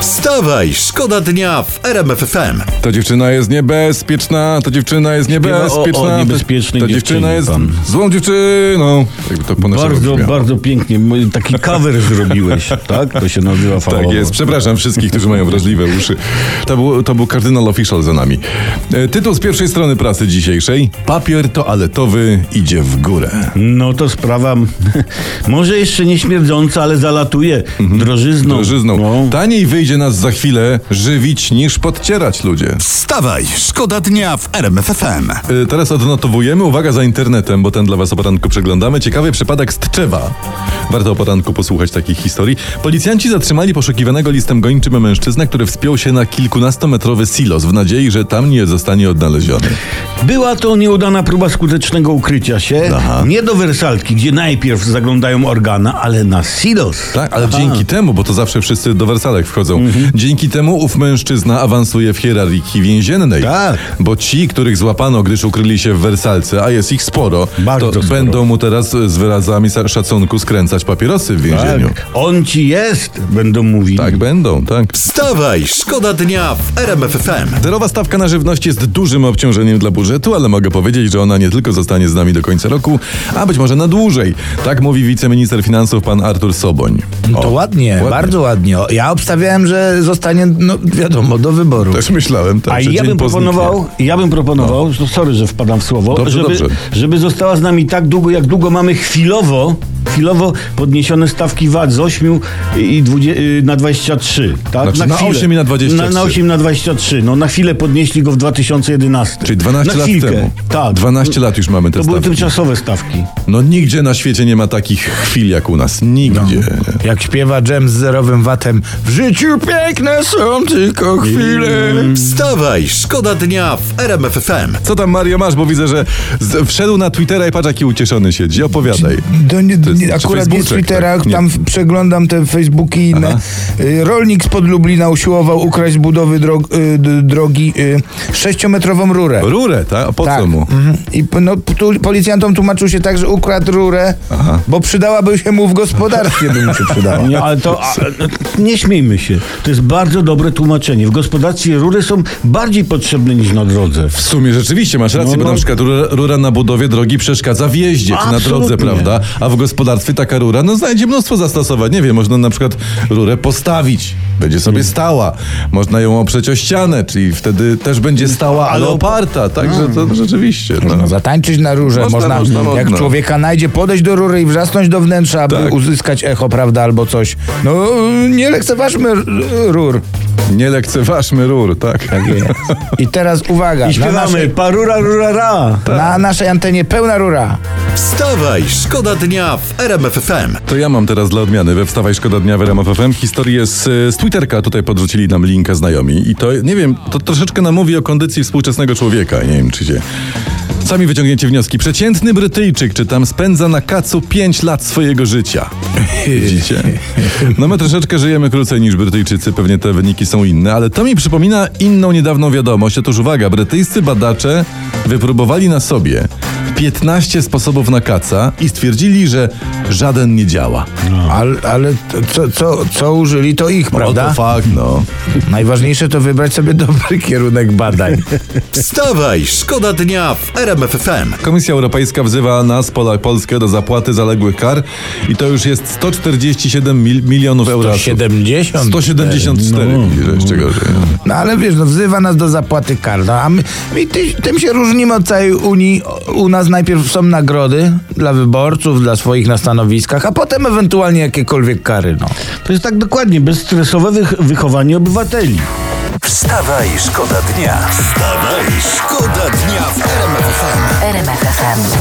Wstawaj, szkoda dnia w RMF FM. Ta dziewczyna jest niebezpieczna, ta dziewczyna jest Śpiewa o- o niebezpieczna. ta- niebezpiecznej ta dziewczyna dziewczynie jest pan. złą dziewczyną. Jakby to po naszemu Bardzo, brzmiało. bardzo pięknie. Mój- Taki cover zrobiłeś, tak? To się nazywa fałowo. Tak jest. Przepraszam wszystkich, którzy mają wrażliwe uszy. To był, to był kardynal official za nami. E, tytuł z pierwszej strony prasy dzisiejszej. Papier toaletowy idzie w górę. No to sprawa może jeszcze nie śmierdząca, ale zalatuje drożyzną. Mhm. Drożyzną. Tak. No. Taniej wyjdzie nas za chwilę żywić niż podcierać ludzie. Wstawaj, szkoda dnia w RMF FM. E, Teraz odnotowujemy, uwaga za internetem, bo ten dla was o poranku przeglądamy. Ciekawy przypadek z Tczewa. Warto o poranku posłuchać takich historii. Policjanci zatrzymali poszukiwanego listem gończym mężczyznę, który wspiął się na kilkunastometrowy silos w nadziei, że tam nie zostanie odnaleziony. Była to nieudana próba skutecznego ukrycia się. Nie do wersalki, gdzie najpierw zaglądają organa, ale na silos. Tak, ale dzięki temu, bo to zawsze wszyscy do wersalek wchodzą, Mhm. dzięki temu ów mężczyzna awansuje w hierarchii więziennej. Tak. Bo ci, których złapano, gdyż ukryli się w wersalce, a jest ich sporo, Bardzo to sporo. będą mu teraz e, z wyrazami sa- szacunku skręcać papierosy w więzieniu. Tak. On ci jest, będą mówili. Tak, będą, tak. Wstawaj, szkoda dnia w RMF FM. Zerowa stawka na żywność jest dużym obciążeniem dla budżetu, ale mogę powiedzieć, że ona nie tylko zostanie z nami do końca roku, a być może na dłużej. Tak mówi wiceminister finansów pan Artur Soboń. No To ładnie, bardzo ładnie. O, Ja obstawiałem, że zostanie, no wiadomo, do wyboru. Też myślałem, tak, A że ja dzień bym po proponował, ja bym proponował, no. sorry, że wpadam w słowo, Dobrze, żeby, dobrze. żeby została z nami tak długo, jak długo mamy chwilowo, chwilowo podniesione stawki VAT z 8 i 20, y, na 23, tak? Znaczy na chwilę. 8 i na 23. Na, na 8 na 23. No na chwilę podnieśli go w 2011. Czyli 12 na lat chwilkę. temu. Tak. 12 lat już mamy te To były stawki. tymczasowe stawki. No nigdzie na świecie nie ma takich chwil jak u nas. Nigdzie. No. Jak śpiewa Jem z zerowym watem W życiu piękne są tylko chwile Wstawaj, szkoda dnia w RMF FM. Co tam Mario masz, bo widzę, że z, wszedł na Twittera i patrz jaki ucieszony siedzi. Opowiadaj. do, nie, To jest- nie, czy akurat nie z Facebooczek, Twittera, tak? Nie. tam w- przeglądam te Facebooki i inne. Y, Rolnik spod Lublina usiłował ukraść z budowy drog, y, d- drogi y, sześciometrową rurę. Rurę, tak? A po co mu? mhm. I p- no, tu, policjantom tłumaczył się tak, że ukradł rurę, bo przydałaby się mu w gospodarstwie, by mu się przydała. Nie, ale to a, nie śmiejmy się. To jest bardzo dobre tłumaczenie. W gospodarstwie rury są bardziej potrzebne niż na drodze. W sumie rzeczywiście masz rację, No, bo no. na przykład rura, rura na budowie drogi przeszkadza w jeździe czy na Absolutnie. drodze, prawda? A w gospodarstwie taka rura, no znajdzie mnóstwo zastosowań. Nie wiem, można na przykład rurę postawić. Będzie Mm. sobie stała. Można ją oprzeć o ścianę, czyli wtedy też będzie stała, ale oparta. Także Mm. to rzeczywiście. No. No, zatańczyć na rurze można, Można, można, jak można. człowieka najdzie, podejść do rury i wrzasnąć do wnętrza, aby Tak. uzyskać echo, prawda, albo coś. No, nie lekceważmy r- rur. Nie lekceważmy rur, tak? I teraz uwaga, I na śpiewamy naszej, parura rura ra. na naszej antenie pełna rura. Wstawaj, szkoda dnia w RMF FM. To ja mam teraz dla odmiany we Wstawaj Szkoda Dnia w RMF FM historię z, y, z Twitterka. Tutaj podrzucili nam linka znajomi i to, nie wiem, to troszeczkę nam mówi o kondycji współczesnego człowieka. Nie wiem, czy się... Sami wyciągnięcie wnioski. Przeciętny Brytyjczyk, czy tam spędza na kacu 5 lat swojego życia. Widzicie? No my troszeczkę żyjemy krócej niż Brytyjczycy, pewnie te wyniki są inne, ale to mi przypomina inną niedawną wiadomość. Otóż uwaga, brytyjscy badacze wypróbowali na sobie 15 sposobów na kaca i stwierdzili, że żaden nie działa. Al, ale t- co, co, co użyli, to ich, O prawda? to fakt, no. Najważniejsze to wybrać sobie dobry kierunek badań. Wstawaj, szkoda dnia w RMF FM. Komisja Europejska wzywa nas, Pola, Polskę, do zapłaty zaległych kar i to już jest 147 mil, milionów euro. 70. 174 no. jeszcze gorzej. No ale wiesz, no, wzywa nas do zapłaty kar. No, a my, my ty, tym się różnimy od całej Unii. O- U nas najpierw są nagrody dla wyborców, dla swoich na stanowiskach, a potem ewentualnie jakiekolwiek kary. No. To jest tak dokładnie, bezstresowe wych- wychowanie obywateli. Wstawaj, szkoda dnia. Wstawaj, szkoda dnia w RMF FM. RMFFM.